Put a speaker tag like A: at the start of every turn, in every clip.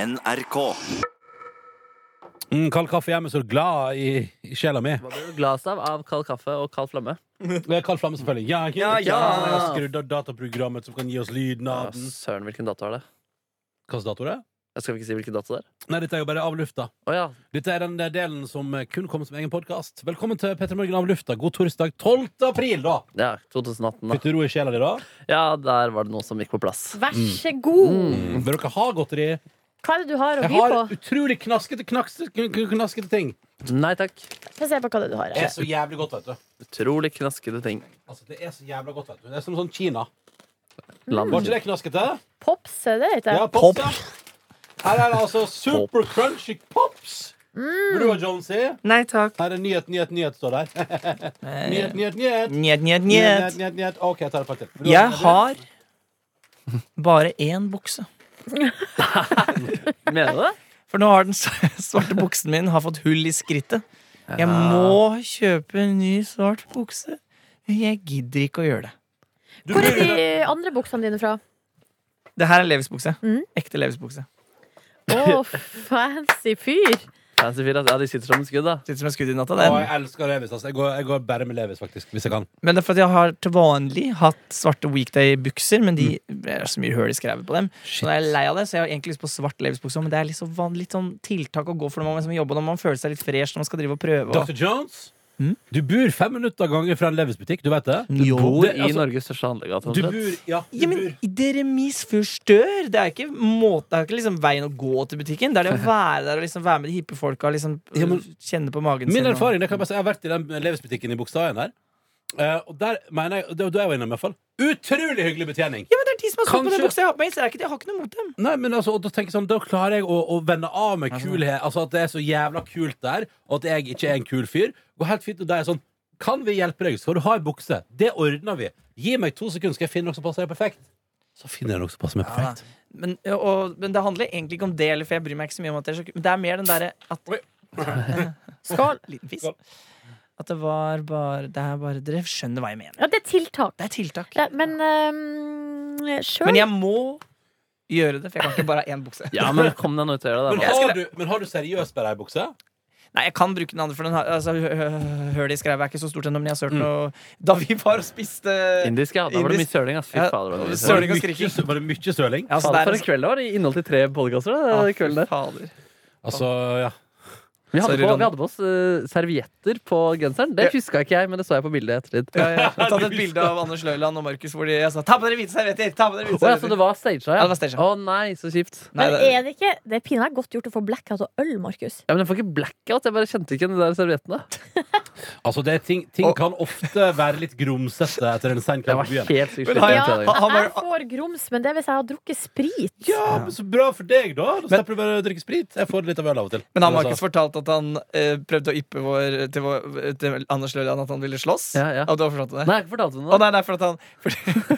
A: NRK.
B: Mm, kald kaffe gjør meg så glad i, i sjela mi.
C: Hva blir du glad av? Av kald kaffe og kald flamme?
B: Eh, Kald flamme, selvfølgelig. Ja, ja,
C: Ja,
B: ja.
C: ja.
B: Jeg har skrudd av dataprogrammet som kan gi oss lyden
C: Ja,
B: av den.
C: søren, hvilken dato er det?
B: Hvilken dato er det?
C: Jeg skal ikke si hvilken dato det er.
B: Nei, dette er jo bare av lufta.
C: Å ja.
B: Dette er den der delen som eh, kun kommer som egen podkast. Velkommen til Petter Morgen av lufta. God torsdag 12. april, da!
C: ja, 2018, da.
B: Fikk du ro i sjela di, da?
C: Ja, der var det noe som gikk på plass.
D: Vær så god.
B: Mm. Vil dere ha godteri?
D: Hva er det du har å
B: Jeg
D: by
B: har
D: på?
B: utrolig knaskete, knaskete, kn- kn- knaskete ting.
C: Nei takk.
D: Få se på hva det du har.
B: Det
D: her.
B: er så jævlig godt, vet du.
C: Utrolig knaskete ting.
B: Altså, det er så jævla godt, vet du. Det er som sånn Kina.
C: Land.
B: Var ikke det knaskete?
D: Pops, er det ikke?
B: Ja, pops, ja. Her er det altså super crunchy pops.
E: Mm.
B: Vil du ha Jonesy?
E: Nei takk.
B: Her er nyhet, nyhet, nyhet, står der. nyhet, nyhet, nyhet.
E: Njet, njet,
B: Nyhet, nyhet,
E: njet.
B: nyhet, nyhet. OK, jeg tar et par til. Vil du
E: Jeg
B: ha-
E: har bare én bukse.
C: Mener du det?
E: For nå har den svarte buksen min har fått hull i skrittet. Jeg må kjøpe en ny svart bukse. Men Jeg gidder ikke å gjøre det.
B: Du
D: Hvor er
B: blir-
D: de andre buksene dine fra?
E: Det her er Levis-bukse.
D: Mm.
E: Ekte Levis-bukse.
D: Å, fancy fyr.
C: Fancy fyr, ass. Ja, de sitter som et skudd, da.
E: Sitter som et skudd i natta.
B: Å,
E: Det.
B: jeg elsker Levis. Altså. Jeg, går, jeg går bare med Levis, faktisk. Hvis jeg kan.
E: Men det er for at jeg har til vanlig hatt svarte weekday-bukser, men de det er så mye høl i skrevet på dem. Så nå er jeg lei av det, så jeg har egentlig lyst på svart Levis-bukse, men det er litt, så van, litt sånn tiltak å gå for når man liksom jobber, når man føler seg litt fresh når man skal drive og prøve.
B: Dr. Jones,
E: Mm?
B: du bor fem minutter av gangen fra en Levis-butikk. Du vet det?
E: Du
C: Bor
B: Det-
C: i
B: altså-
C: Norges største handlegate.
B: Du
C: omtrent.
B: bor Ja, du
E: Ja, men
B: bor.
E: dere misforstår! Det er ikke, måte, det er ikke liksom veien å gå til butikken. Det er det å være der og liksom være med de hippe folka og liksom
B: Ja, men-
E: kjenne på magen
B: Min
E: sin. og-
B: erfaring, det kan jeg bare si, jeg har vært i den Levis-butikken i Bogstadøyen her. Eh, og der mener jeg, det var da jeg var innom, i hvert fall. Utrolig hyggelig betjening!
E: Ja, men det er de som har stått på den
B: Kanskje-
E: buksa jeg har på meg, så det er ikke, jeg har ikke noe mot dem.
B: Nei, men altså, og da tenker jeg sånn, da klarer jeg å, å vende av med kulhet. Altså At det er så jævla kult der, og at jeg ikke er en kul fyr. Går helt fint, og da er jeg sånn Kan vi hjelpe deg? Skal du ha ei bukse? Det ordner vi. Gi meg to sekunder, skal jeg finne noe som passer deg perfekt. Så finner jeg noe som passer meg perfekt.
E: Men, og, men det handler egentlig ikke om det, eller for jeg bryr meg ikke så mye om at det er så Men det er mer den derre at
B: Oi.
E: Skål! Liten fisk.
B: Skål.
E: At det var bare Det er bare Dere skjønner hva jeg mener.
D: Ja, det er tiltak.
E: Det er tiltak.
D: Ja, men um, sjøl
E: Men jeg må gjøre det, for jeg kan ikke bare ha én bukse.
C: Ja, men kom deg nå ut og gjør det.
B: Men
C: da, mann.
E: Jeg
B: har,
E: skulle-
B: du, men har du seriøst bare ei bukse?
E: Nei, jeg kan bruke den andre, for den har altså, hø- hø- Hølet i skrevet er ikke så stort ennå, men jeg har sølt noe Da vi var og spiste
C: Indisk, ja. Da var det mye
E: Indisk.
C: søling, ass. Fy
E: Ja,
C: fader. det var mye
E: søling.
C: søling.
E: Søling og
B: Var det mye-
E: skriking.
B: Var det mye søling?
E: Ja, så
C: Fader,
E: der-
C: for en kveld det var. I innhold til tre podkaster.
E: Ja,
C: Vi
E: fy
C: hadde
E: fader.
B: Altså, ja.
E: Sorry,
C: på,
E: Ronny.
C: vi hadde på oss eh, servietter på genseren. Det huska ikke jeg, men det så jeg på bildet i ettertid.
E: Ja, ja. Jeg har tatt et bilde av Anders Løiland og Markus hvor de jeg sa 'ta på dere hvite servietter'! Ta på dere hvite
C: Å ja, så det
E: servietter.
C: var staged?
E: Ja, det var staged.
C: Å nei, så kjipt.
E: Nei,
D: Men
E: det-
D: er det ikke Det er pinadø godt gjort å få blackout og øl, Markus.
C: Ja, men jeg får ikke blackout. Jeg bare kjente ikke igjen de der serviettene.
B: Altså, det er ting, ting kan ofte være litt grumsete etter en sein
C: Jeg
B: kveld
C: var
B: på byen.
C: helt sykt
E: Men
C: sliten
E: har
D: Ja,
C: den fredagen.
E: han- han var-
D: jeg får grums, men det er hvis jeg har drukket sprit.
B: Ja, men Så bra for deg, da. Da slipper du bare å drikke sprit. Jeg får litt av øl av og til.
E: Men han Markus
B: Altså,
E: fortalte at han eh, prøvde å yppe vår, til, vår, til Anders Løiland at han ville slåss.
C: Ja, ja.
E: Og du har fortalt det?
C: Nei, jeg har ikke fortalt henne
E: Å
C: det.
E: nei, nei, for at han for,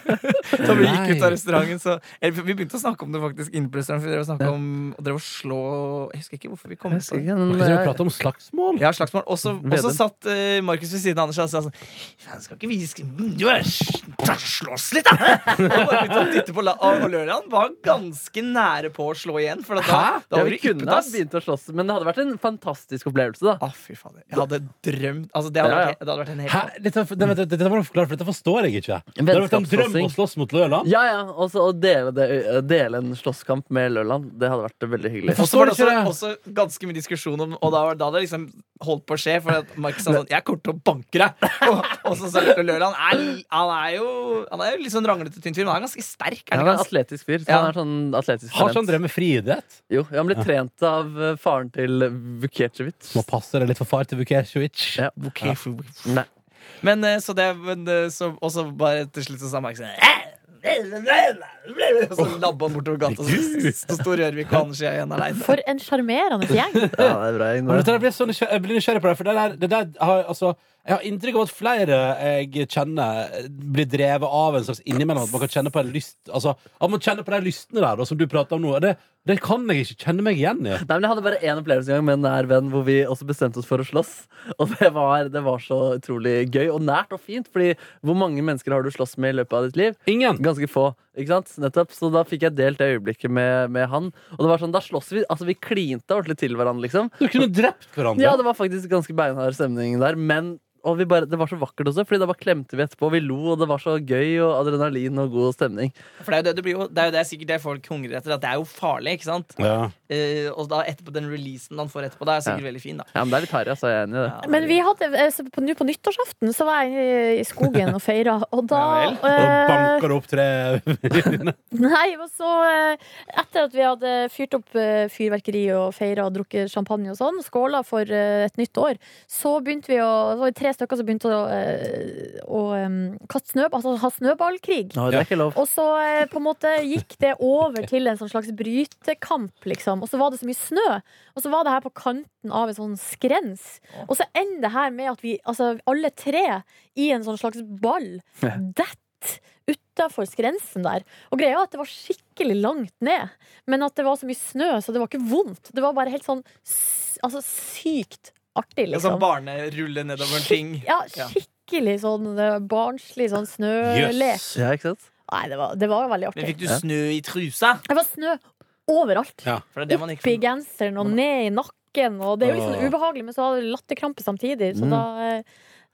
E: Da vi gikk ut
B: Nei.
E: av restauranten, så eller, Vi begynte å snakke om det faktisk inne på restauranten. For vi drev å snakke om og drev å slå Jeg husker ikke hvorfor vi kom
C: Jeg
E: på
C: husker
E: det.
C: ikke, men eh,
B: Markus, dere
C: jeg-
B: prater om slagsmål.
E: Ja, slagsmål. Og så og så
C: Vedum.
E: satt eh, Markus ved siden av Anders og sa sånn Faen, skal ikke vi sk- «Mm, jo, jeg s- slåss litt, da? Og bare begynte å dytte på la- og og Løiland var ganske nære på å slå igjen. For at da, da
C: Ja,
E: var
C: vi
E: det
C: kunne
E: yppet,
C: ha
E: ass.
C: begynt å slåss, men det hadde vært en fantastisk opplevelse, da.
E: Å, fy fader. Jeg hadde drømt Altså, det hadde,
C: Ja, ja.
E: Vært, det hadde vært en helt
B: Hæ? Dette, nei, vent, dette må du forklare, for dette forstår jeg ikke. Det har vært en drøm
C: Vennskapsslåssing.
B: å slåss mot Løland.
C: Ja, ja, og så å dele, det, dele en slåsskamp med Lørland, det hadde vært veldig hyggelig.
E: Og så var det
B: Forstår
E: også,
B: ikke
E: også ganske mye diskusjon om Og da var da det liksom holdt på å skje, for at Markus sa sånn 'Jeg kommer til å banke deg'. Og, og så sa Løiland Løland er, han er jo Han er jo litt sånn ranglete, tynn fyr, men han er ganske sterk. Er
C: Han
E: han
C: er
E: ikke
C: en
E: ganske?
C: atletisk fyr. Så
E: Ja.
C: han er sånn atletisk
B: Har ikke
C: talent.
B: han drevet med friidrett?
C: Jo, han ble trent av eh, faren til Vukecevic.
B: Må passe deg litt for far til Vukesjovic.
C: Ja.
E: Ok, for-
C: Nei.
E: Men eh, så det men, eh, så, Og så bare til slutt så sa Markus sånn, Og så labba han bortover gata, og så så sto Rørvik og Anders og jeg igjen aleine.
D: For en sjarmerende gjeng.
C: Ja, det er bra.
B: Men
C: Ingvar.
B: dette der blir sånn, jeg blir nysgjerrig på det, for det der, det der har, altså, Jeg har inntrykk av at flere jeg kjenner, blir drevet av en slags innimellom at man kan kjenne på en lyst Altså, at man kjenner på de lystene der, da, som du prater om nå. Det, det kan jeg ikke kjenne meg igjen i.
C: Nei, men Jeg hadde bare én opplevelse en gang med en nær venn hvor vi også bestemte oss for å slåss. Og det var, det var så utrolig gøy og nært og fint, fordi hvor mange mennesker har du slåss med i løpet av ditt liv?
B: Ingen.
C: Ganske få, ikke sant? Nettopp. Så da fikk jeg delt det øyeblikket med, med han. Og det var sånn, da slåss vi. Altså, vi klinte ordentlig til hverandre, liksom.
B: Du kunne drept hverandre.
C: Ja, det var faktisk ganske beinhard stemning der, men og vi bare, det var så vakkert også, Fordi da bare klemte vi etterpå, og vi lo, og det var så gøy, og adrenalin og god stemning.
E: For det er jo det, det, blir jo, det, er jo det sikkert det folk hungrer etter, at det er jo farlig, ikke sant?
B: Ja.
E: Eh, og da etterpå den releasen han får etterpå, da er sikkert veldig fin, da.
C: Ja, men det er litt harry, altså. Jeg er enig i det.
E: Ja,
D: Men vi hadde, eh, så på, nå på nyttårsaften så var jeg i- i skogen og feira, og da
E: Ja
B: Og da
D: eh,
B: banker det opp tre
D: Nei, og så eh, Etter at vi hadde fyrt opp eh, fyrverkeri og feira og drukket champagne og sånn, skåla for eh, et nytt år, så begynte vi å Så var det tre stykker som begynte å, eh, å eh, kaste snø, altså ha snøballkrig.
C: Nå, det er ikke lov.
D: Og så eh, på en måte gikk det over til en sånn slags brytekamp, liksom. Og så var det så mye snø. Og så var det her på kanten av en sånn skrens. Og så ender det her med at vi, altså alle tre, i en sånn slags ball, detter utafor skrensen der. Og greia er at det var skikkelig langt ned. Men at det var så mye snø, så det var ikke vondt. Det var bare helt sånn s- altså sykt artig,
E: Liksom. Sånn
D: liksom.
E: barnerulle nedover en ting.
D: Ja,
E: Ja.
D: skikkelig sånn eh, barnslig sånn
C: Eh,
D: snølek.
B: Jøss.
C: Ja, ikke sant?
D: Nei, det var, det var veldig artig.
E: Men fikk du
C: Ja.
E: snø i trusa?
D: Det var snø overalt.
B: Ja.
E: For det er det man ikke
D: Opp i genseren og ned i nakken. Og det er jo litt
B: Mm. Åh.
D: sånn ubehagelig, men så hadde du latterkrampe samtidig. Så
C: Mm.
D: da eh,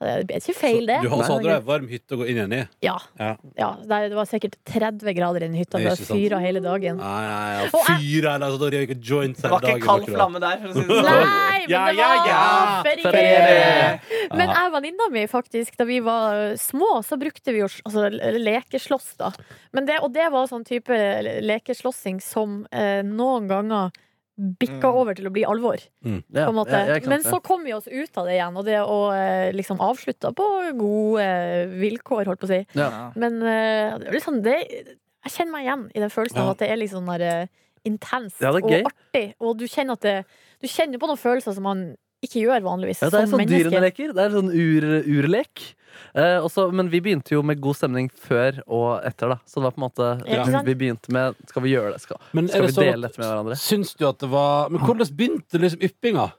D: Det er ikke feil, det.
B: Du har også
C: Nei, det
B: hadde
C: er
B: ei varm hytte å gå inn igjen i.
D: Ja.
B: Ja.
D: ja nei, det var sikkert 30 grader inne i hytta.
B: Det
D: Det
B: er
D: var
B: ikke sant.
D: fyra hele dagen.
B: Nei, nei, ja.
D: Og jeg-
B: Fyra eller noe sånt og røyka joints
E: Det var
B: hele
E: ikke
B: dagen,
E: kald
B: akkurat.
E: flamme der, for å si det sånn.
D: Nei, men
B: Ja,
D: det
B: ja,
D: var
B: ja.
D: ferie!
B: Ja.
D: Men jeg og venninna mi, faktisk, da vi var eh, små, så brukte vi jo s- altså, le- lekeslåss, da. Men det, og det var sånn type le- lekeslåssing som eh, noen ganger bikka
E: Mm.
D: over til å bli alvor.
C: Ja,
D: på en måte.
C: ja, ja, ikke sant,
D: Men
C: ja.
D: så kom vi oss ut av det igjen, og det å eh, liksom avslutta på gode eh, vilkår, holdt på å si.
C: Ja.
D: Men eh, det er liksom det Jeg kjenner meg igjen i den følelsen
B: Ja.
D: av at det er litt sånn der eh, intenst
C: Ja, det er
D: og
C: gøy.
D: artig, og du kjenner at det Du kjenner på noen følelser som man ikke gjør vanligvis
C: Ja, det er
D: som
C: sånn dyrene
D: menneske.
C: leker. Det er sånn ur, urlek. Eh, også, men vi begynte jo med god stemning før og etter, da. Så det var på en måte
D: Ja. Ikke sant?
C: Vi begynte med Skal vi gjøre det? Skal,
B: Men er
C: skal
B: det
C: vi
B: sånn
C: dele
B: at-
C: dette med hverandre?
B: Syns du at det var Men hvordan begynte liksom yppinga?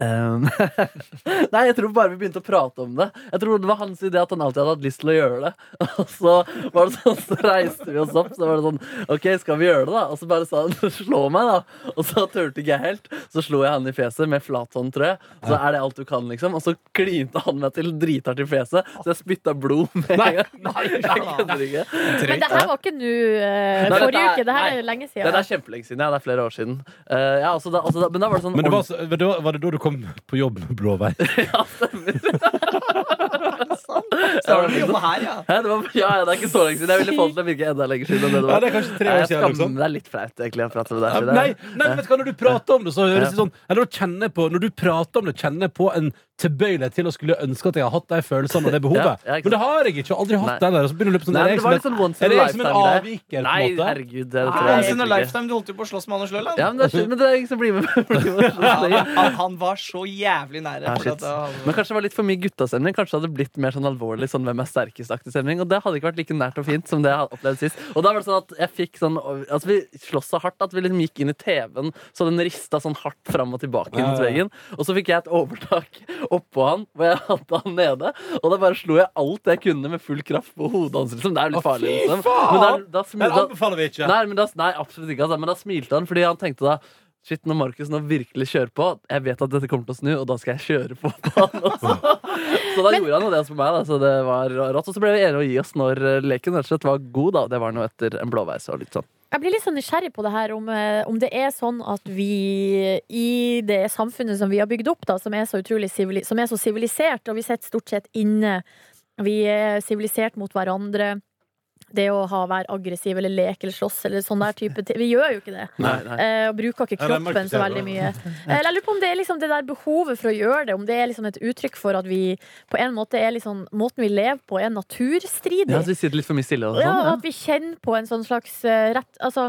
C: Um, Nei, jeg tror bare vi begynte å prate om det. Jeg tror det var hans idé at han alltid hadde hatt lyst til å gjøre det. Og så var det sånn, så reiste vi oss opp, så var det sånn OK, skal vi gjøre det, da? Og så bare sa han slå meg, da. Og så turte ikke jeg helt. Så slo jeg han i fjeset med flathånd, tror jeg. Så er det alt du kan, liksom. Og så klinte han meg til drithardt i fjeset, så jeg spytta blod med en gang. Nei, jeg kødder ikke.
D: Men det her var ikke nå eh,
C: Nei, dette
D: forrige
C: er-
D: uke, det her
C: nei.
D: er lenge
C: Det
D: siden.
C: er kjempelenge siden. Ja, det er flere år siden. Eh, ja, altså, da, altså, da, men da var det sånn
B: Men det var, så- men det var, var det da du kom på jobb med blå vei?
E: Så har
C: liksom
E: du jobba her, ja.
C: Hæ, det var, ja, ja, det er ikke så lenge siden. Jeg ville få det til å virke enda lenger siden. enn det det var.
B: Ja, det er kanskje tre år
C: Nei, jeg
B: siden,
C: skammer
B: liksom.
C: meg. Det er litt flaut egentlig å prate med deg.
B: Ja,
C: fordi det er-
B: Nei, nei, men vet du hva, når du prater om det, så høres det sånn Eller når du kjenner på, når du prater om det, kjenner jeg på en tilbøyelighet til å skulle ønske at jeg har hatt de følelsene og det behovet.
C: Ja, ja, ikke sant.
B: Men det har jeg ikke. og Aldri hatt det heller. Og så begynner du å løpe sånn
C: Nei,
B: er
C: men
B: jeg
C: det var litt
B: som en-
C: sånn once
B: Er
C: in a
B: det jeg som en
C: lifetime-greie.
B: avviker, på en
C: Nei,
B: måte?
C: herregud, det, det tror jeg
E: Once in a
C: egentlig ikke.
E: lifetime, du holdt jo på å slåss med Anders Løland.
C: Ja, men det er, men det er ikke så bli med. bli med så
E: Han,
C: lenge.
E: han, han var så jævlig nære.
C: Ja,
E: for
C: shit.
E: at han-
C: Men kanskje det var litt for mye guttastemning. Kanskje det hadde blitt mer sånn alvorlig sånn hvem er sterkest-aktig stemning. Og det hadde ikke vært like nært og fint som det jeg hadde opplevd sist. Og da var det sånn at jeg fikk sånn Altså, vi sloss så hardt at vi liksom gikk inn i TV-en, så den rista sånn hardt fram og tilbake inn mot
B: Ja, ja, ja.
C: veggen. Og så fikk jeg et overtak oppå han, hvor jeg hadde han nede. Og da bare slo jeg alt jeg kunne med full kraft på hodet hans, liksom. Det er
B: Å,
C: jo litt farlig,
B: fy
C: liksom. Men da,
B: faen!
C: da,
B: Men
C: smil- da,
B: anbefaler vi ikke.
C: Nei, men da, nei, absolutt ikke. Altså. Men da smilte han fordi han tenkte da Shit, når Markus nå virkelig kjører på, jeg vet at dette kommer til å snu, og da skal jeg kjøre på på han også. Så da gjorde han jo det på meg, da. Så det var rått. Og så ble vi enige å gi oss når eh, leken rett og slett var god, da. Det var noe etter en blåveis og litt sånn.
D: Jeg blir litt sånn nysgjerrig på det her om, eh, om det er sånn at vi i det samfunnet som vi har bygd opp, da, som er så utrolig sivili som er så sivilisert, og vi sitter stort sett inne, vi er sivilisert mot hverandre. Det å ha, være aggressiv eller leke eller slåss eller sånn der type ting. Vi gjør jo ikke det.
C: Nei, nei.
D: Eh, og bruker ikke
B: Ja, det er
D: kroppen så
B: markedsføring,
D: veldig mye. Eh, Jeg lurer på om det er liksom det der behovet for å gjøre det, om det er liksom et uttrykk for at vi på en måte er liksom Måten vi lever på, er naturstridig.
C: Ja, altså, så vi sitter litt for mye stille og
D: Ja, og
C: sånn.
D: at vi kjenner på en sånn slags eh, rett Altså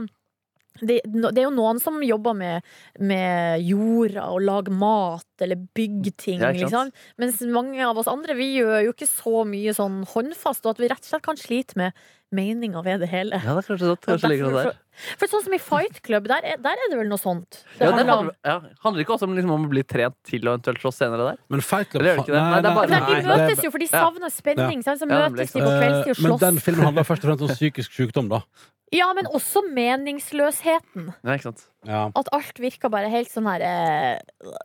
D: det, no- det er jo noen som jobber med, med jorda og lager mat plante eller bygge ting.
C: Ja, ikke
D: liksom.
C: sant?
D: Mens mange av oss andre vi gjør jo ikke så mye sånn håndfast, og at vi rett og slett kan slite med meninga ved det hele.
C: Ja, det er kanskje sant.
D: Og
C: Kanskje ligger det
D: derfor-
C: der.
D: For sånn som i Fight Club, der er, der er det vel noe sånt? Det
C: Ja, det
D: handler om-
C: handler, ja. handler det ikke også om, liksom, om å bli trent til å eventuelt slåss senere der?
B: Men Fight Club
C: Eller gjør det ikke det? Nei, det er bare-
D: Men de
C: Nei,
D: møtes jo, for de
C: ja.
D: savner spenning. sant? Så
C: Ja, det blir
D: møtes
C: ikke
D: de på
B: Eh,
D: kveldstid og
B: Men den
D: slåss.
B: filmen handler først og fremst om psykisk sykdom, da.
D: Ja, men også meningsløsheten.
C: Ja, ikke sant?
B: Ja.
D: At alt virker bare helt sånn her eh,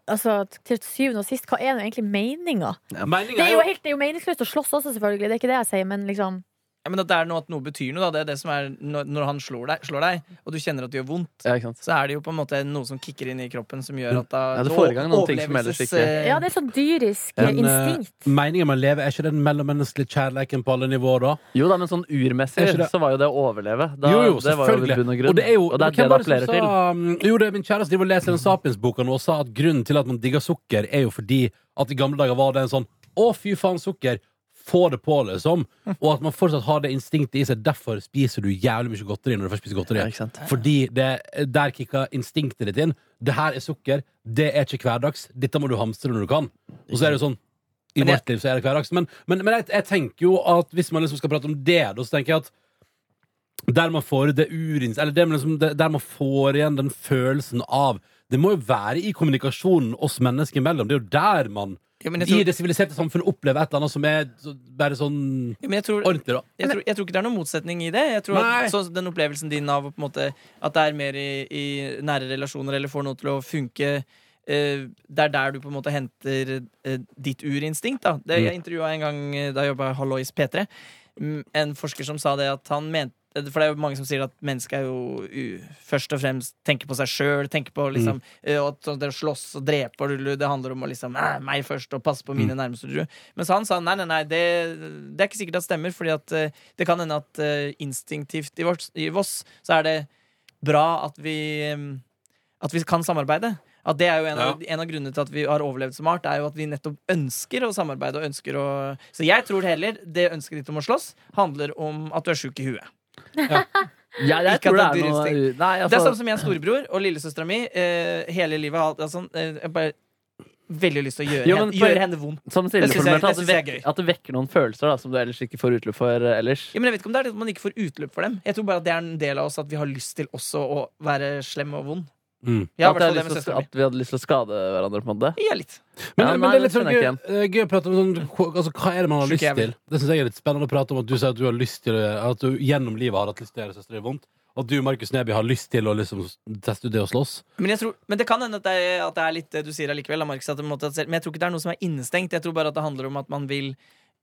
D: Altså, til syvende og sist, hva er nå egentlig meninga? Det er jo helt, det er jo meningsløst å slåss også, selvfølgelig. Det er ikke det jeg sier, men liksom
E: Ja, men at det er noe, at noe betyr noe, da. Det er det som er når, når han slår deg, slår deg, og du kjenner at det gjør vondt,
C: Ja, ikke sant?
E: så er det jo på en måte noe som kicker inn i kroppen som gjør at da
C: Ja, det foregår noen ting som ellers
E: overlevelses-
C: ikke-
E: eh,
D: Ja, det er sånn dyrisk eh,
B: Men, eh,
D: instinkt.
B: meningen med å leve, er ikke den mellommenneskelige kjærleiken på alle nivåer, da?
C: Jo da, men sånn urmessig
B: Er ikke det-
C: så var jo det å overleve. Da,
B: jo, jo,
C: det var jo
B: selvfølgelig.
C: bunn og grunn.
B: det er jo
C: det er
B: hvem
C: det det
B: var som
C: appellerer
B: sa,
C: til.
B: mm, Jo, det er min kjæreste driver og leser den Sapiens-boka nå og sa at grunnen til at man digger sukker, er jo fordi at i gamle dager var det en sånn Å, fy faen, sukker! Få det på, liksom. Og at man fortsatt har det instinktet i seg. Derfor spiser du jævlig mye godteri når du først spiser godteri.
C: Ja, ikke sant?
B: Fordi det, der kicka instinktet ditt inn. Det her er sukker. Det er ikke hverdags. Dette må du hamstre når du kan. Og så er det jo sånn I
E: Men jeg-
B: vårt liv så er det hverdags. Men, men, men jeg, jeg tenker jo at hvis man liksom skal prate om det, da, så tenker jeg at der man får det urins... Eller det, man liksom, det, der man får igjen den følelsen av Det må jo være i kommunikasjonen oss mennesker imellom. Det er jo der man
E: Jo, men jeg
B: i
E: tror-
B: det siviliserte samfunnet opplever et eller annet som er så, bare sånn
E: Jo, men jeg tror,
B: ordentlig, da.
E: jeg, tror, jeg tror ikke det er noen motsetning i det. Jeg tror
B: Nei.
E: at, så Den opplevelsen din av å på en måte, at det er mer i, i nære relasjoner eller får noe til å funke eh, Det er der du på en måte henter eh, ditt urinstinkt. Da. Det, jeg intervjua en gang eh, da jeg jobba i Hallois P3, mm, en forsker som sa det at han mente for det er jo mange som sier at mennesket er jo u- først og fremst tenker på seg sjøl. Liksom, eh, og at sånn, det å slåss og drepe og rulle, det handler om å liksom "Æ, meg først og passe på mine nærmeste. tror jeg." Mens han sa nei, nei, nei, det, det er ikke sikkert det stemmer, fordi at eh, det kan hende at eh, instinktivt i vårt- i Voss så er det bra at vi eh, At vi kan samarbeide. At det er jo en, av, en av grunnene til at vi har overlevd som art, er jo at vi nettopp ønsker å samarbeide. Og ønsker å Så jeg tror heller det ønsket ditt om å slåss handler om at du er sjuk i huet.
C: Ja, jeg
E: Ikke
C: tror det er
E: at det er
C: noe
E: dyrinstinkt.
C: Nei,
E: Det er
C: altså,
E: samme som jeg, storebror og lillesøstera mi. eh, hele livet har alt- altså, eh, jeg bare veldig lyst til å gjøre,
C: Jo, men
E: henne,
C: for-
E: gjøre henne vondt.
C: som Silje
E: Det synes jeg-
C: formulerte, at,
E: det
C: det
E: synes jeg er
C: vekker- at det vekker noen følelser da, som du ellers ikke får utløp for eh, ellers.
E: Ja, men jeg vet ikke om det er det at man ikke får utløp for dem. Jeg tror bare at det er en del av oss at vi har lyst til også å være slem og vond.
B: Mm.
E: Ja, i
C: at, jeg har
E: hvert fall det med
C: lyst til, å-
E: søstera mi.
C: at vi hadde lyst til å skade hverandre på en måte.
E: Ja, litt.
B: Men,
C: Ja,
B: men
C: nei,
B: det er litt
C: det
B: sånn
C: skjønner
B: gøy,
C: jeg
B: eh, gøy å prate om sånn, hva- altså, Hva er det man har
E: Sjuk
B: lyst
E: jævel.
B: til? Det synes jeg er litt spennende å prate om At du sier at du har lyst til eh, At du gjennom livet har hatt lyst til å gjøre søstre vondt At du, Markus Neby, har lyst til å liksom teste ut det å slåss
E: Men, jeg tror, men det kan hende at det, er, at det er litt det du sier allikevel. da, Markus, at det på en måte, at selv- men jeg tror ikke det er noe som er innestengt. Jeg tror bare at det handler om at man vil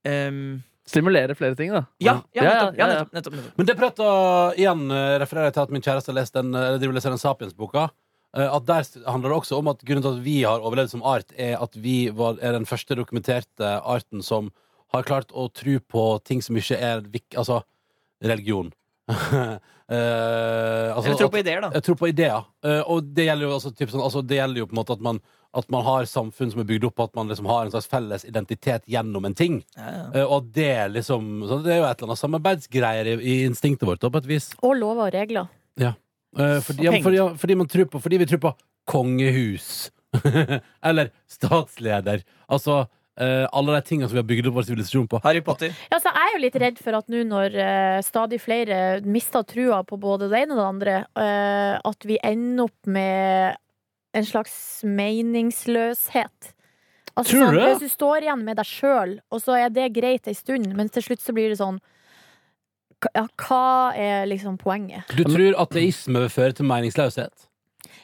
E: ehm,
C: Stimulere flere ting, da.
E: ja, ja,
C: Ja, ja, ja,
E: nettopp, ja,
C: ja.
E: nettopp, nettopp, nettopp.
B: Men det prater igjen eh, Refererer jeg til at min kjæreste har lest den eh, Eller driver og leser den Sapiens-boka eh, At der st- handler det også om at grunnen til at vi har overlevd som art Er at vi var, er den første dokumenterte arten Som har klart å tro på ting som ikke er vik- Altså, religion Eh, altså,
E: Eller tro
B: at-
E: på ideer, da.
B: Jeg tror på ideer. Eh, og det gjelder jo, altså, typ, sånn, altså, det gjelder jo på en måte at man, at man har samfunn som er bygd opp, at man liksom har en slags felles identitet gjennom en ting.
E: Ja, ja.
B: Eh, og at det er liksom så Det er jo et eller annet samarbeidsgreier i, i instinktet vårt, da, på et vis.
D: Og lover og regler.
B: Eh, fordi,
E: Og
B: ja,
E: penger.
B: fordi, ja, fordi, man tror på, fordi vi tror på kongehus. eller statsleder. Altså eh, alle de tingene som vi har bygd opp vår sivilisasjon på.
E: Harry Potter.
D: Ja, så jeg er jo litt redd for at nå når eh, stadig flere mister trua på både det ene og det andre, eh, at vi ender opp med en slags meningsløshet. Altså,
B: Tror du
D: sånn,
B: det?
D: Hvis du står igjen med deg sjøl, og så er det greit ei stund, men til slutt så blir det sånn k- Ja, hva er liksom poenget?
B: Du tror ateisme vil føre til meningsløshet?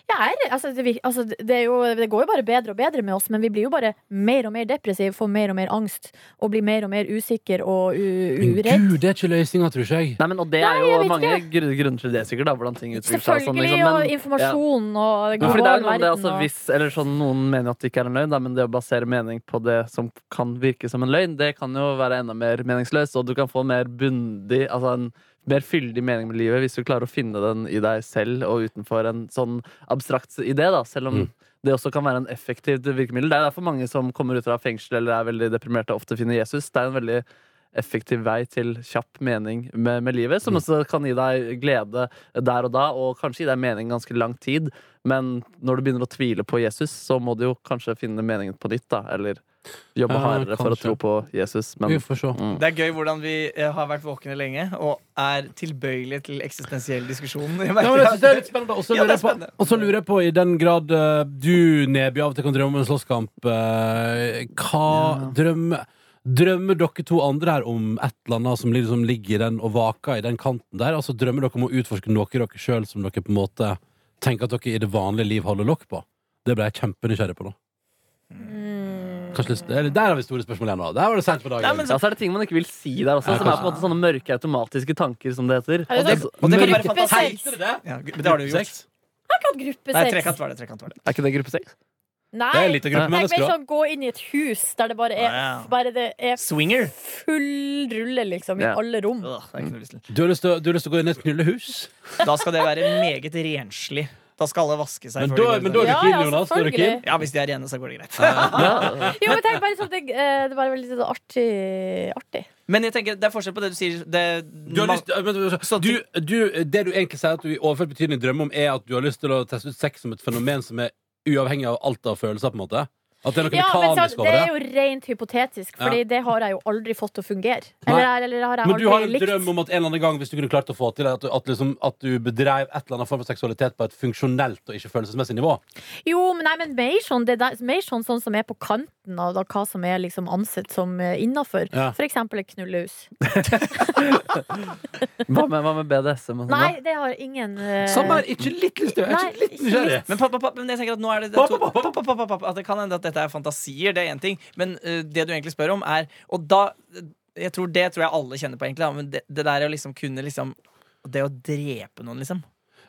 D: Ja, jeg er, altså, det, vir- altså, det, er jo, det går jo bare bedre og bedre med oss, men vi blir jo bare mer og mer depressive, får mer og mer angst, og blir mer og mer usikker og u
B: Men
D: uredd.
B: gud, det er ikke løsninga, tror ikke jeg.
C: Nei, men, og det er
D: Nei, jeg
C: jo
D: vet
C: mange
D: ikke.
C: gru- grunner til det, sikkert. da, hvordan ting utvikler seg. og sånn,
D: Selvfølgelig,
C: liksom, men-
D: og informasjon og det
C: Jo, fordi
D: globale
C: det er noe med det,
D: verden
C: altså,
D: og-
C: hvis, eller sånn, Noen mener at du ikke er en løgn, da, men det å basere mening på det som kan virke som en løgn, det kan jo være enda mer meningsløst, og du kan få en mer bundig, altså en mer fyldig mening med livet hvis du klarer å finne den i deg selv og utenfor en sånn abstrakt idé, da, selv om
B: Mm.
C: det også kan være en effektiv virkemiddel. Det er derfor mange som kommer ut av fengsel eller er veldig deprimerte, ofte finner Jesus. Det er en veldig effektiv vei til kjapp mening med, med
B: Mm.
C: livet, som også kan gi deg glede der og da, og kanskje gi deg mening ganske lang tid. Men når du begynner å tvile på Jesus, så må du jo kanskje finne meningen på nytt, da. Eller jobbe
B: Ja,
C: hardere for å
B: kanskje.
C: tro på Jesus.
B: Vi
C: Men
B: får se.
C: mm.
E: Det er gøy hvordan vi eh, har vært våkne lenge og er tilbøyelige til eksistensiell diskusjon. Jeg merker
B: Ja, men jeg synes det er
E: at-
B: litt spennende. Og så
E: Ja,
B: lurer,
E: det er
B: jeg på-
E: spennende.
B: og så lurer jeg på, i den grad eh, du, Neby, av og til kan drømme om en slåsskamp, eh, hva drømmer Drømmer dere to andre her om et eller annet som liksom ligger i den og vaker i den kanten der? Altså Drømmer dere om å utforske noe i dere sjøl som dere på en måte tenker at dere i det vanlige liv holder lokk på? Det ble jeg kjempenysgjerrig på nå.
D: Mm.
B: Kanskje lyst, eller, der har vi store spørsmål igjen. nå. Der var det sent på dagen.
E: Nei,
C: Ja,
E: men
C: så er det ting man ikke vil si der også,
B: Ja,
C: som er på en
E: kanskje.
C: måte sånne mørke automatiske tanker, som det heter.
D: Er det
C: Altså,
E: Og det kan være
B: Mørke-
E: fantasi.
D: Sex.
B: Heter det det?
E: Ja, men det har du jo gjort.
B: Sex?
D: Akkurat gruppe
E: Nei,
D: sex.
E: trekant var det. trekant var det
C: er ikke det gruppe seks?
D: Nei,
B: Det er en liten gruppe
C: Nei.
D: tenk
B: mennesker
D: mer
B: da.
D: sånn gå inn i et hus der det bare er,
E: Ja.
D: bare det er
E: Swinger.
D: full rulle, liksom, i
C: Ja.
D: alle rom.
E: Åh, det er ikke noe lyst til.
B: Du har lyst til å- du har lyst til å gå inn i et knullehus?
E: Da skal det være meget renslig. Da skal alle vaske seg.
B: Men
E: før
B: da,
E: de
B: men
E: går
B: da er
E: ut.
D: Ja,
B: du keen,
D: ja,
B: Jonas. Da er du keen.
D: selvfølgelig.
E: Ja, hvis de er rene, så går det greit.
C: Ja.
D: Jo, men tenk bare sånn, det, eh, det er bare veldig sånn artig. artig.
E: Men jeg tenker, det er forskjell på det du sier. Det,
B: Du har lyst, men, men, men,
E: Så-
B: du, du, det du egentlig sier at du i overført betydning drømmer om, er at du har lyst til å teste ut sex som et fenomen som er uavhengig av alt av følelser? på en måte At det er noe
D: Ja, men sant,
B: mekanisk
D: det
B: over
D: er
B: det?
D: jo rent hypotetisk, Fordi
B: Ja.
D: det har jeg jo aldri fått til å fungere.
B: Nei.
D: Eller, eller har jeg
B: Men du har
D: aldri
B: en
D: likt.
B: drøm om at en eller annen gang hvis du kunne klart å få til at du, at liksom, at du bedreiv et eller annet form for seksualitet på et funksjonelt og ikke følelsesmessig nivå?
D: Jo, men, nei, men mer, sånn, det der, mer sånn, sånn som er på kanten av da, hva som er liksom ansett som eh, innafor.
B: Ja.
D: For eksempel et knullehus.
C: Hva med, hva med BDSM og sånn? da?
D: Nei, det har ingen eh,
B: Som er ikke litt lyst til Jeg er
D: Nei,
B: ikke litt
D: ikke
B: nysgjerrig.
D: litt.
E: Men pappa, pappa, men jeg tenker at nå er det, det
B: Pappa, pappa, pappa.
E: pappa, pappa, pappa, At det kan hende at dette er fantasier, det er én ting. Men eh, det du egentlig spør om, er Og da jeg tror, Det tror jeg alle kjenner på, egentlig. Da, men det, det der å liksom kunne liksom Det å drepe noen, liksom.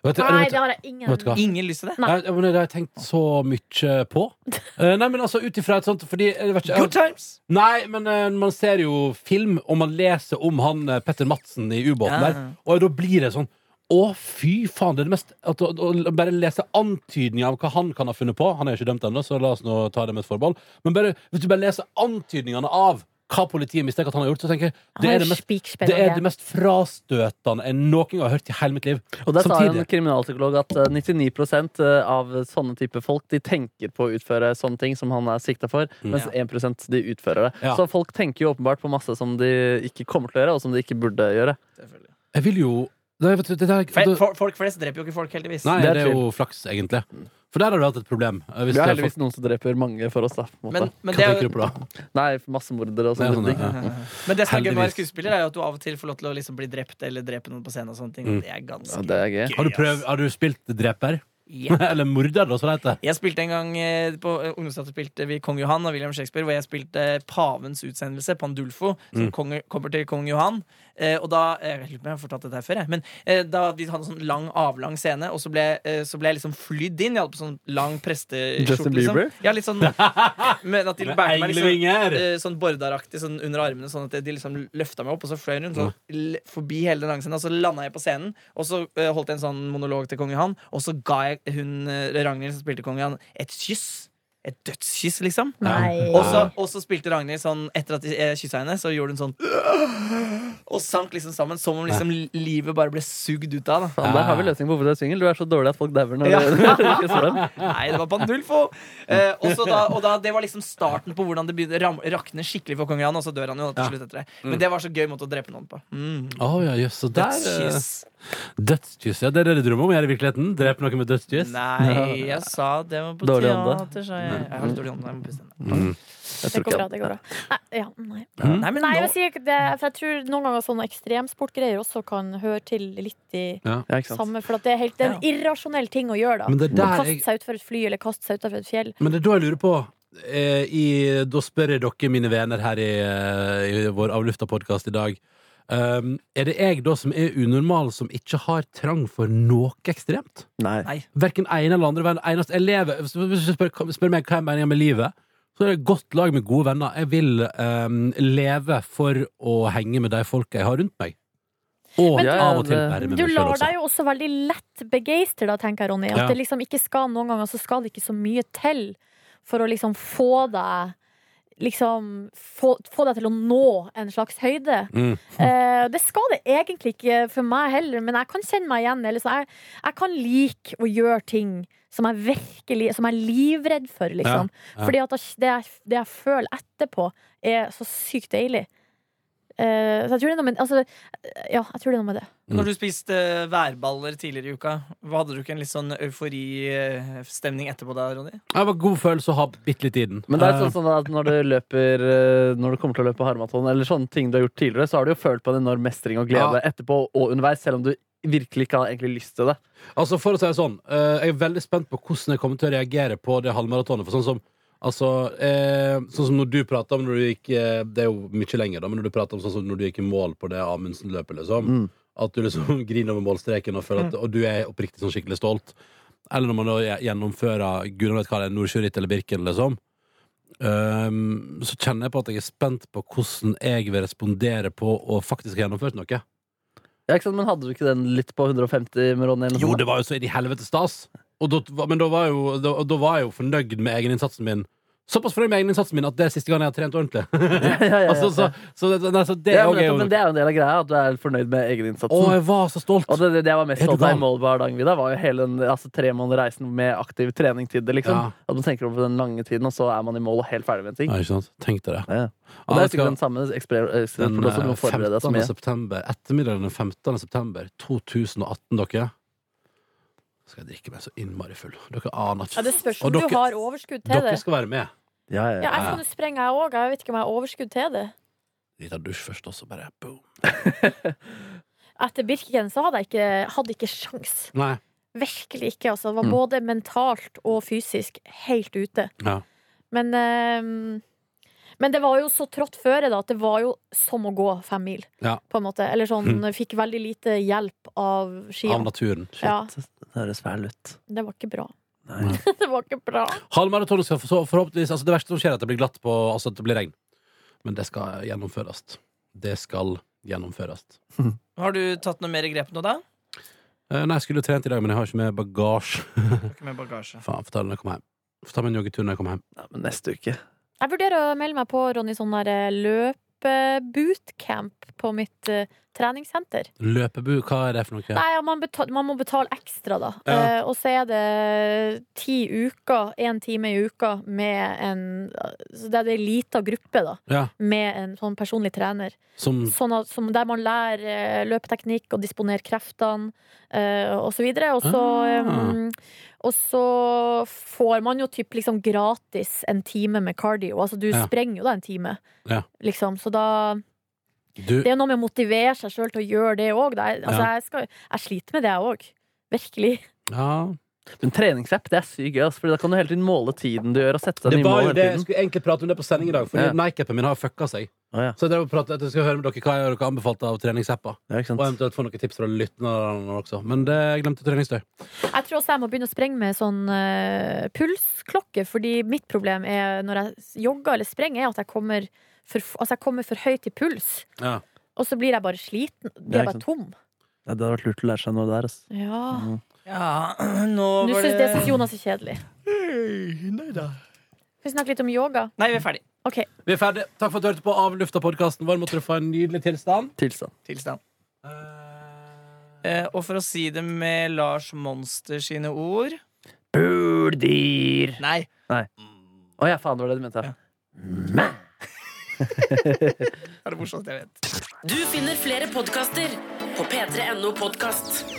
B: Vet du,
D: Nei,
B: vet du,
D: det har jeg ingen
B: vet du hva?
E: Ingen lyst til det.
D: Nei.
B: Nei, men Det har jeg tenkt så mye på. Eh, Nei, men altså ut ifra et sånt Fordi jeg vet ikke,
E: Good times!
B: Nei, men eh, man ser jo film, og man leser om han eh, Petter Madsen i ubåten
E: Ja.
B: der, og da blir det sånn å, fy faen! Det er det mest at, å, å Bare lese antydninger av hva han kan ha funnet på. Han er jo ikke dømt ennå, så la oss nå ta det med et forbehold. Men bare, hvis du bare leser antydningene av hva politiet mistenker at han har gjort, så tenker jeg det er det mest, det er det mest frastøtende jeg noen gang har hørt i hele mitt liv.
C: Og der sa jo
B: Samtidig.
C: en kriminalpsykolog at eh, 99 av sånne type folk De tenker på å utføre sånne ting som han er sikta for, mens
E: Ja.
C: 1 de utfører det.
B: Mm. Ja.
C: Så folk tenker jo åpenbart på masse som de ikke kommer til å gjøre, og som de ikke burde gjøre.
E: Selvfølgelig.
B: Jeg vil jo Nei, vet du, det der,
E: Fe-
B: det,
E: for- Folk flest dreper jo ikke folk, heldigvis.
B: nei,
C: det er
B: det er jo flaks, egentlig. For der har du hatt et problem. eh, Hvis det er
C: Vi har
B: folk,
C: heldigvis noen som dreper mange for oss, da. På en måte.
E: Men, men
B: hva
E: det er
B: tenker
E: jo
B: du på da?
C: Nei, massemordere og
B: Nei,
C: sånne
B: sånn,
C: ting.
B: ja.
E: Men det som er gøy med å være
B: Heldigvis.
E: skuespiller, er jo at du av og til får lov til å liksom bli drept eller drepe noen på scenen. og sånne ting
B: Mm.
E: Det er
C: Ja,
E: ganske
C: det er gøy.
B: Har du, prøv, har du spilt dreper?
E: Ja.
B: Eller morder, da, som det heter.
E: Jeg spilte en gang eh, på eh, ungdomsteater spilte vi Kong Johan og William Shakespeare, hvor jeg spilte pavens utsendelse, Pandulfo, som
B: Mm.
E: konge- kommer til kong Johan. Eh, og da eh, Jeg lurer på om jeg har fortalt dette her før, jeg. Men eh, da vi hadde en sånn lang, avlang scene, og så ble, eh, så ble jeg liksom flydd inn. Jeg hadde på sånn lang presteskjorte.
C: Justin Bieber?
E: Liksom. Ja, litt sånn Men at de bærte meg liksom eh, sånn bordaraktig sånn under armene, sånn at de liksom løfta meg opp, og så fløy hun sånn, l- forbi hele den lange scenen, og så landa jeg på scenen, og så eh, holdt jeg en sånn monolog til kong Johan, og så ga jeg hun eh, Ragnhild, som spilte kong Johan, et kyss. Et dødskyss, liksom.
D: Nei.
E: Og så, og så spilte Ragnhild sånn Etter at jeg kyssa henne, så gjorde hun sånn Og sank liksom sammen, som om liksom livet bare ble sugd ut av. Da.
C: Faen, der har vi løsning på hvorfor du er singel. Du er så dårlig at folk dauer når
E: Ja.
C: du ikke står dem.
E: Nei, det var Pandulfo! Eh, og så da, og da, det var liksom starten på hvordan det begynte ram- rakne skikkelig for kong Jan, og så dør han jo til
B: Ja.
E: slutt etter det. Men det var så gøy måte å drepe noen på. Mm.
B: Å ja, jøss. Så der eh,
E: Dødskyss.
B: Dødskyss. Ja, det er det du drømmer om? Jeg er i virkeligheten? Drepe noen med dødskyss?
E: Nei, jeg sa det var på
C: Dårlig ånde.
E: teater, sa jeg. Jeg har litt dårlig ånde, jeg må puste inn.
C: Jeg
D: Det
C: tror
D: går
C: ikke
D: bra,
C: det.
D: det går bra. Nei, ja, nei.
B: Mm.
E: Nei, men
D: nei, jeg
E: nå
D: sier ikke det, for jeg tror noen ganger sånne ekstremsportgreier også kan høre til litt i
C: Ja, ikke sant.
D: samme For at det er, helt, det er en irrasjonell ting å gjøre, da.
B: Men det er
D: Å
B: der
D: kaste
B: jeg
D: seg utfor et fly eller kaste seg utfor et fjell.
B: Men det er da jeg lurer på eh, i, Da spør jeg dere, mine venner her i, eh, i vår Avlufta-podkast i dag. Um, er det jeg da som er unormal, som ikke har trang for noe ekstremt?
C: Nei.
E: Nei.
B: Hverken ene eller andre veien. Eneste jeg lever Hvis hvis du spør, spør meg hva jeg mener med livet, så er det et godt lag med gode venner. Jeg vil ehm, leve for å henge med de folka jeg har rundt meg. Og
C: Men-
B: av og til
C: Ja,
B: være med
D: Du
B: meg sjøl
D: lar
B: også.
D: deg jo også veldig lett begeistre, da, tenker jeg, Ronny. At
B: Ja.
D: det liksom ikke skal, noen ganger så skal det ikke så mye til for å liksom få deg liksom få, få deg til å nå en slags høyde.
B: Mm.
D: Eh, det skal det egentlig ikke for meg heller, men jeg kan kjenne meg igjen. Eller så jeg, jeg kan like å gjøre ting som jeg virkelig Som jeg er livredd for, liksom.
B: Ja, ja.
D: Fordi at det, jeg, det jeg føler etterpå, er så sykt deilig. Eh, så jeg tror det er noe med altså, Ja, jeg tror det er noe med det.
E: Når du spiste eh, værballer tidligere i uka, hva hadde du ikke en litt sånn euforistemning etterpå da, Ronny?
B: Det var god følelse å ha bitte litt i den.
C: Men det er
B: Eh,
C: sånn, sånn at når du løper eh, Når du kommer til å løpe harmaton, eller sånne ting du har gjort tidligere, så har du jo følt på en enorm mestring og glede etterpå og underveis, selv om du virkelig ikke har egentlig lyst til det.
B: Altså for å si det sånn eh, Jeg er veldig spent på hvordan jeg kommer til å reagere på det halvmaratonet. For sånn som Altså, eh, sånn som når du prater om når du gikk eh, Det er jo mye lenger, da, men når du prater om sånn som når du gikk i mål på det Amundsen-løpet, liksom.
C: Mm.
B: At du liksom griner over målstreken og føler at Og du er oppriktig sånn skikkelig stolt. Eller når man da gjennomfører gudene vet hva det er, Nordsjøritt eller Birken, liksom. Ehm, så kjenner jeg på at jeg er spent på hvordan jeg vil respondere på å faktisk ha gjennomført noe.
C: Ja, ikke sant? Men hadde du ikke den litt på 150 med Ronny? Eller noe
B: Jo,
C: sånt?
B: det var jo så inn i helvete stas. Og da, men da var, jo, da, da var jeg jo fornøyd med egeninnsatsen min. Såpass fornøyd med egeninnsatsen min at det er siste gang jeg har trent ordentlig.
C: ja, ja, ja.
B: altså, så, så, det- nei, så det
C: Ja,
B: er jo-
C: men, nettopp, men det er jo en del av greia, at du er fornøyd med
B: Å,
C: egeninnsatsen.
B: jeg var så stolt!
C: Og det, det, det jeg var mest
B: Er du
C: stolt av
B: gal?
C: i Molde og Hardangervidda, var jo hele den altså, tre måneder reisen med aktiv trening til det. liksom.
B: Ja.
C: At man tenker over den lange tiden, og så er man i mål og helt ferdig med en ting.
B: Nei, ikke sant? Tenk deg det.
C: Ja. Og
B: Ja,
C: det
B: jeg
C: er sikkert
B: skal-
C: den samme eksperimentet,
B: Den
C: for også du
B: eh,
C: må forberede deg så
B: 15.
C: mye.
B: september Ettermiddagen den 15. september 2018, dere. Skal jeg drikke meg så innmari full. Dere aner
D: Ja,
B: ikke.
D: det spørs
B: Og
D: om
B: dere-
D: du har overskudd til
B: Dere
D: det.
B: skal være med.
C: Ja, ja,
D: Ja,
C: ja.
D: jeg kan jo sprenge, jeg òg. Jeg vet ikke om jeg har overskudd til det.
B: Lita dusj først, og så bare boom.
D: Etter Birken så hadde jeg ikke, hadde ikke sjans.
B: Nei.
D: Virkelig ikke. Altså. Det var
C: Mm.
D: både mentalt og fysisk helt ute.
B: Ja.
D: Men, ehm, men det var jo så trått føre da, at det var jo som å gå fem mil.
B: Ja.
D: På en måte. Eller sånn, fikk veldig lite hjelp av
B: Av
D: skia.
B: naturen.
D: Ja,
C: Shit, det høres fæl ut.
D: det var ikke bra.
C: Nei.
D: det var ikke bra.
B: Halvmaratonen skal for, så forhåpentligvis altså Det verste som skjer, er at det blir glatt på Altså at det blir regn. Men det skal gjennomføres. Det skal gjennomføres.
E: Har du tatt noe mer grep nå, da?
B: Eh, nei, jeg skulle jo trent i dag, men jeg har ikke med bagasje.
E: Ikke med bagasje.
B: Faen, får ta det når jeg kommer hjem. Får ta meg en joggetur når jeg kommer hjem.
C: Ja, men neste uke.
D: Jeg vurderer å melde meg på Ronny, sånn der eh, løpebootcamp på mitt eh, treningssenter.
B: Løpebu, hva er det for noe?
D: Nei, ja, man, betal, man må betale ekstra, da.
B: Ja.
D: Eh, og så er det ti uker, én time i uka, med en Så det er ei lita gruppe, da,
B: Ja,
D: med en sånn personlig trener.
B: som
D: Sånn at, som der man lærer eh, løpeteknikk og disponere kreftene eh, og så videre. Og så,
B: Ah.
D: eh, og så får man jo typ liksom gratis en time med cardio. Altså du
B: Ja.
D: sprenger jo da en time,
B: Ja.
D: liksom. Så da
B: du
D: det er noe med å motivere seg sjøl til å gjøre det òg. Altså,
B: Ja.
D: jeg, skal- jeg sliter med det, jeg òg. Virkelig.
B: Ja.
C: Men treningsapp det er sykt gøy, ass, for da kan du hele tiden måle tiden du gjør. og sette deg
B: Det
C: nye
B: var
C: mål
B: jo
C: hele
B: det jeg
C: tiden.
B: skulle egentlig prate om det på sending i dag, fordi
C: Ja.
B: Nike-appen min har fucka seg.
C: Å, ja.
B: Så jeg drev og pratet, jeg skal høre med dere hva jeg har anbefalt av treningsapper.
C: Ja, ikke
B: Og
C: sant?
B: eventuelt få noen tips fra lytterne også. Men det jeg glemte treningstøy.
D: Jeg tror også jeg må begynne å sprenge med sånn eh, pulsklokke, fordi mitt problem er når jeg s- jogger eller sprenger, er at jeg kommer for, f- altså, jeg kommer for høyt i puls.
B: Ja.
D: Og så blir jeg bare sliten.
C: Ja,
D: Blir jeg
C: ikke
D: bare tom.
C: Ja, det hadde vært lurt å lære seg noe der. Ass.
D: Ja.
E: Ja, nå
D: Nå
E: var
D: syns det synes Jonas er kjedelig.
E: Nei da.
D: Skal vi snakke litt om yoga?
E: Nei, vi er ferdig.
D: OK.
B: Vi er ferdig. Takk for at du hørte på Avlufta-podkasten vår. Måtte du få en nydelig tilstand.
C: Tilstand.
E: Tilstand.
B: Eh,
E: Eh, og for å si det med Lars Monster sine ord
C: Buldyr!
E: Nei.
C: Å ja, faen, det var det du mente.
E: Ja. Det er det morsomste jeg vet.
A: Du finner flere podkaster på p3.no podkast.